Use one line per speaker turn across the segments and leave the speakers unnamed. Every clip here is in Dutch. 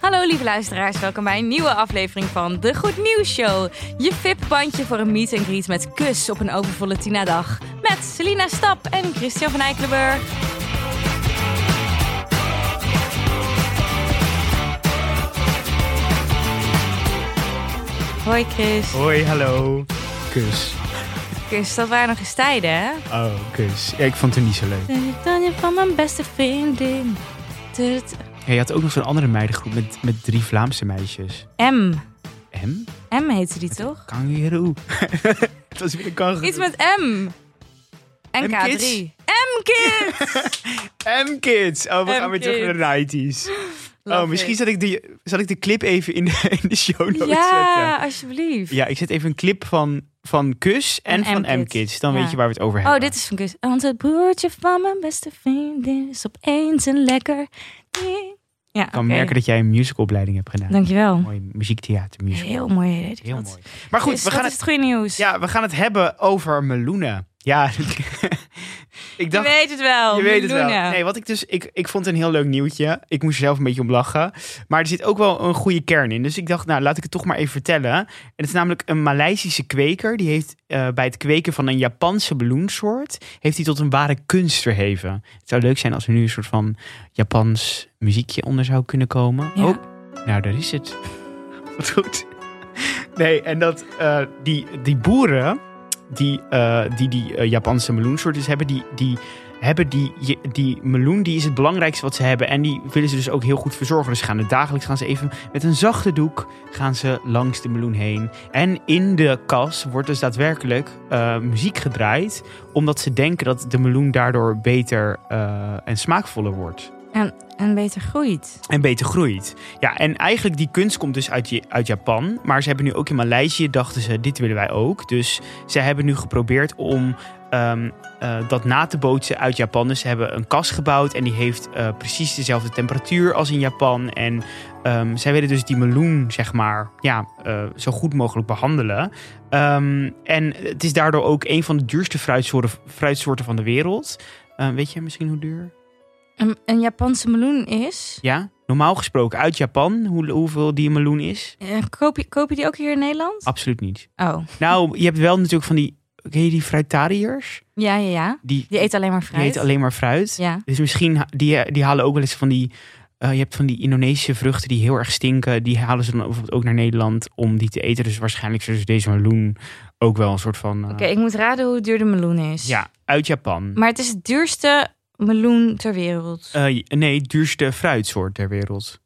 Hallo lieve luisteraars, welkom bij een nieuwe aflevering van De Goed Nieuws Show. Je VIP-bandje voor een meet and greet met kus op een overvolle Tina-dag. Met Selina Stap en Christian van Eikelenburg. Hoi Chris.
Hoi, hallo. Kus.
Chris, dat waren nog eens tijden hè?
Oh, kus. Ja, ik vond het niet zo leuk.
Ben ik dan je van mijn beste vriendin? Tut.
Ja, je had ook nog zo'n andere meidengroep met, met drie Vlaamse meisjes.
M.
M?
M heette die toch?
Kangaroo. het was weer een kangaroo.
Iets met M. En K3.
M-kids?
M-kids!
M-Kids. Oh, we gaan weer terug naar de 90s.
Love
oh, misschien
it.
zal ik, de, zal ik de clip even in de, in de show notes
Ja,
zetten.
alsjeblieft.
Ja, ik zet even een clip van, van Kus en,
En
van
M-kids.
M-Kids. Dan
Ja.
weet je waar we het over hebben.
Oh, dit is van Kus. Want het broertje van mijn beste vriendin is opeens een lekker. Ja,
Ik kan
oké.
merken dat jij een musicalopleiding hebt gedaan.
Dankjewel.
Mooi muziektheater, musical.
Heel mooi. heet
Heel
dat.
mooi. Maar goed,
Dus
we
dat
gaan
is
het...
het goede nieuws.
Ja, we gaan het hebben over meloenen. Ja, ik
je
dacht.
weet het wel.
Je weet het wel.
Meloenen.
Nee, wat ik dus. Ik, ik vond het een heel leuk nieuwtje. Ik moest er zelf een beetje om lachen. Maar er zit ook wel een goede kern in. Dus ik dacht, nou, laat ik het toch maar even vertellen. En het is namelijk een Maleisische kweker. Die heeft eh, bij het kweken van een Japanse meloensoort. Heeft hij tot een ware kunst verheven. Het zou leuk zijn als er nu een soort van Japans muziekje onder zou kunnen komen.
Ja.
Oh, nou, daar is het. Wat goed. Nee, en dat eh, die, die boeren die eh, die, die eh, Japanse meloensoort dus hebben, die, die hebben die, je- die meloen, die is het belangrijkste wat ze hebben. En die willen ze dus ook heel goed verzorgen. Dus ze gaan het dagelijks gaan ze even met een zachte doek gaan ze langs de meloen heen. En in de kas wordt dus daadwerkelijk eh, muziek gedraaid. Omdat ze denken dat de meloen daardoor beter eh, en smaakvoller wordt
En beter groeit.
en beter groeit. Ja, en eigenlijk die kunst komt dus uit, Ja- uit Japan. Maar ze hebben nu ook in Maleisië, dachten ze, dit willen wij ook. Dus ze hebben nu geprobeerd om ehm, eh, dat na te bootsen uit Japan. Dus ze hebben een kas gebouwd en die heeft eh, precies dezelfde temperatuur als in Japan. En ehm, zij willen dus die meloen, zeg maar, ja, eh, zo goed mogelijk behandelen. Ehm, en het is daardoor ook een van de duurste fruitsoorten, fruitsoorten van de wereld. Eh, weet je misschien hoe duur?
Een, een Japanse meloen is.
Ja, normaal gesproken uit Japan, hoe, hoeveel die meloen is?
Eh, koop, je, koop je die ook hier in Nederland?
Absoluut niet.
Oh,
Nou, je hebt wel natuurlijk van die, ken je die fruitariërs?
ja, ja, ja.
Die,
Die eet alleen maar
die
fruit.
eten alleen maar fruit.
Ja.
Dus misschien, ha- die, die halen ook wel eens van die, eh, je hebt van die Indonesische vruchten die heel erg stinken. Die halen ze dan bijvoorbeeld ook naar Nederland om die te eten. Dus waarschijnlijk zullen ze deze meloen ook wel een soort van... eh,
Oké, ik moet raden hoe duur de meloen is.
Ja, uit Japan.
Maar het is het duurste meloen ter wereld.
Eh, nee, duurste fruitsoort ter wereld.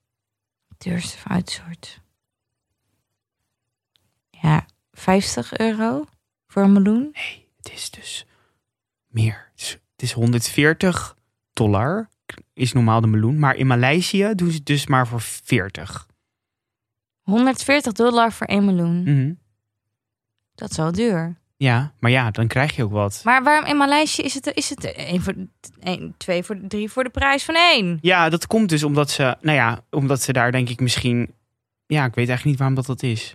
duurste fruitsoort. Ja, 50 euro voor een meloen.
Nee, het is dus meer. Het is, het is 140 dollar, is normaal de meloen. Maar in Maleisië doen ze het dus maar voor 40.
140 dollar voor één meloen.
Mhm.
Dat is wel duur.
Ja, maar ja, dan krijg je ook wat.
Maar waarom in Maleisië is het, is het één voor, één, twee voor, drie voor de prijs van één?
Ja, dat komt dus omdat ze, nou ja, omdat ze daar denk ik misschien... Ja, ik weet eigenlijk niet waarom dat dat is.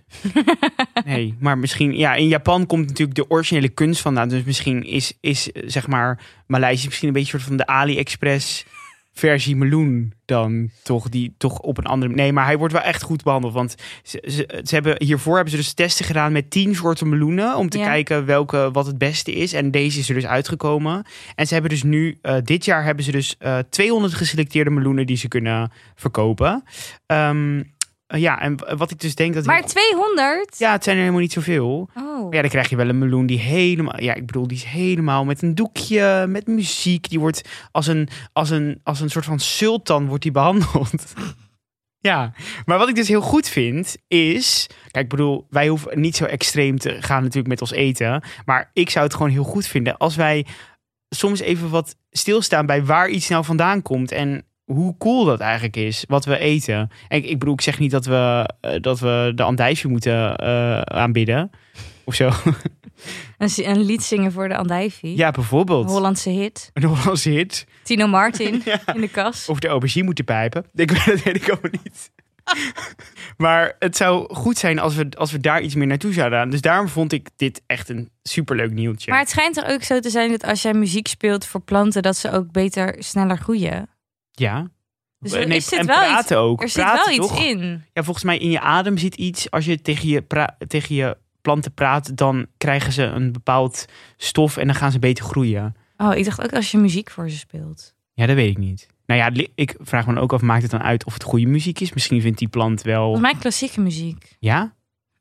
Nee, maar misschien... Ja, in Japan komt natuurlijk de originele kunst vandaan. Dus misschien is, is eh, zeg maar, Maleisië misschien een beetje een soort van de AliExpress versie meloen dan toch die toch op een andere nee maar hij wordt wel echt goed behandeld want ze, ze, ze hebben hiervoor hebben ze dus testen gedaan met tien soorten meloenen om te
Ja.
kijken welke wat het beste is en deze is er dus uitgekomen en ze hebben dus nu eh, dit jaar hebben ze dus eh, 200 geselecteerde meloenen die ze kunnen verkopen Ehm, eh, ja en w- wat ik dus denk dat
maar 200?
ja het zijn er helemaal niet zoveel
Oh.
ja, dan krijg je wel een meloen die helemaal. Ja, ik bedoel, die is helemaal met een doekje, met muziek. Die wordt als een, als een, als een soort van sultan wordt die behandeld. Ja, maar wat ik dus heel goed vind is. Kijk, ik bedoel, wij hoeven niet zo extreem te gaan natuurlijk met ons eten. Maar ik zou het gewoon heel goed vinden als wij soms even wat stilstaan bij waar iets nou vandaan komt. En hoe cool dat eigenlijk is, wat we eten. En ik, ik bedoel, ik zeg niet dat we, eh, dat we de andijvie moeten eh, aanbidden. Of zo.
Een, zi- een lied zingen voor de andijvie.
Ja, bijvoorbeeld.
Een Hollandse hit.
Een Hollandse hit.
Tino Martin in de kas.
Of de aubergine moeten pijpen. Ik weet dat weet ik ook niet. maar het zou goed zijn als we, als we daar iets meer naartoe zouden gaan. Dus daarom vond ik dit echt een superleuk nieuwtje.
Maar het schijnt er ook zo te zijn dat als jij muziek speelt voor planten, dat ze ook beter, sneller groeien.
Ja.
Dus
Eh,
er
nee,
is- zit
en
wel iets-
praten ook.
Er zit
praten
wel iets
toch?
in.
Ja, volgens mij in je adem zit iets. Als je tegen je, pra- tegen je planten praat, dan krijgen ze een bepaald stof en dan gaan ze beter groeien.
Oh, ik dacht ook als je muziek voor ze speelt.
Ja, dat weet ik niet. Nou ja, li- ik vraag me dan ook af, maakt het dan uit of het goede muziek is? Misschien vindt die plant wel...
Volgens mij klassieke muziek.
Ja?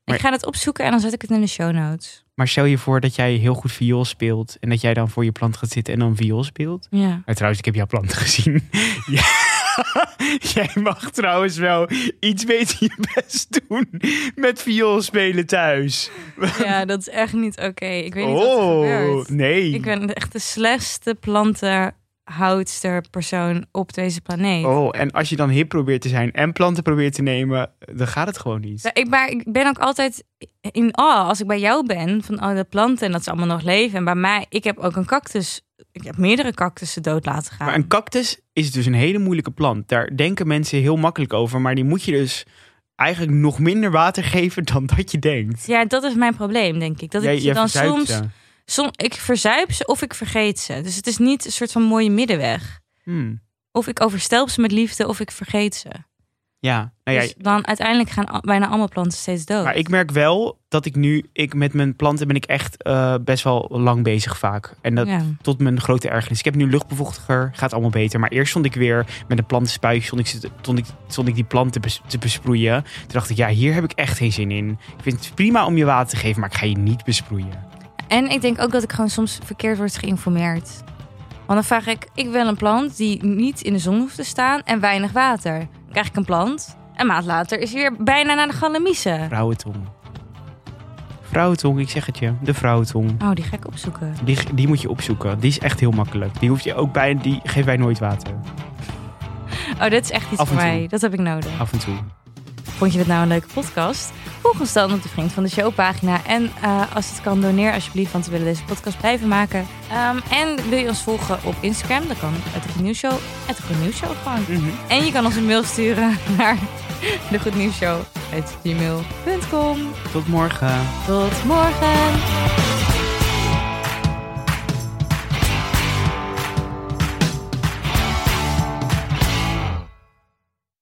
Maar-
Ik ga het opzoeken en dan zet ik het in de show notes.
Maar stel je voor dat jij heel goed viool speelt en dat jij dan voor je plant gaat zitten en dan viool speelt.
Ja.
Maar trouwens, ik heb jouw plant gezien. Ja. Jij mag trouwens wel iets beter je best doen met viool spelen thuis.
ja, dat is echt niet oké. Ik weet niet wat er gebeurt.
Oh, nee.
Ik ben echt de slechtste plantenhoudster persoon op deze planeet.
Oh, en als je dan hip probeert te zijn en planten probeert te nemen, dan gaat het gewoon niet.
Ja, Ik, maar ik ben ook altijd in awe als ik bij jou ben. Van oh, de planten en dat ze allemaal nog leven. En bij mij, ik heb ook een cactus. Ik heb meerdere cactussen dood laten gaan.
Maar een cactus is dus een hele moeilijke plant. Daar denken mensen heel makkelijk over, maar die moet je dus eigenlijk nog minder water geven dan dat je denkt.
Ja, dat is mijn probleem, denk ik. Dat
Jij-
ik ze
jij
dan
verzuipt
soms,
ze.
soms... Ik verzuip ze of ik vergeet ze. Dus het is niet een soort van mooie middenweg.
Hmm,
Of ik overstelp ze met liefde of ik vergeet ze.
Ja, nou ja,
Dus dan uiteindelijk gaan al- bijna allemaal planten steeds dood.
Maar ik merk wel dat ik nu, ik met mijn planten ben ik echt eh, best wel lang bezig vaak. En dat
Ja.
tot mijn grote ergernis. Ik heb nu luchtbevochtiger, gaat allemaal beter. Maar eerst stond ik weer met een plantenspuitje, stond ik, ze- stond ik, stond ik die planten bes- te besproeien. Toen dacht ik, ja, hier heb ik echt geen zin in. Ik vind het prima om je water te geven, maar ik ga je niet besproeien.
En ik denk ook dat ik gewoon soms verkeerd word geïnformeerd. Want dan vraag ik, ik wil een plant die niet in de zon hoeft te staan en weinig water. Dan krijg ik een plant. Een maand later is hij weer bijna naar de galamiezen.
Vrouwentong. Vrouwentong, ik zeg het je. De vrouwentong.
Oh, die ga ik opzoeken.
Die, die moet je opzoeken. Die is echt heel makkelijk. Die hoef je ook bij, die geven wij nooit water.
Oh, dit is echt iets
Af en
voor
toe.
mij. Dat heb ik nodig.
Af en toe.
Vond je dit nou een leuke podcast? Volg ons dan op de Vriend van de Show pagina. En eh, als het kan, doneer alsjeblieft, want we willen deze podcast blijven maken. Ehm, en wil je ons volgen op Instagram? Dan kan het Goed Nieuws Show. Het Goed Nieuws Show gewoon. En je kan ons een mail sturen naar de Goed Nieuws Show. Tot morgen.
Tot morgen.
Tot morgen.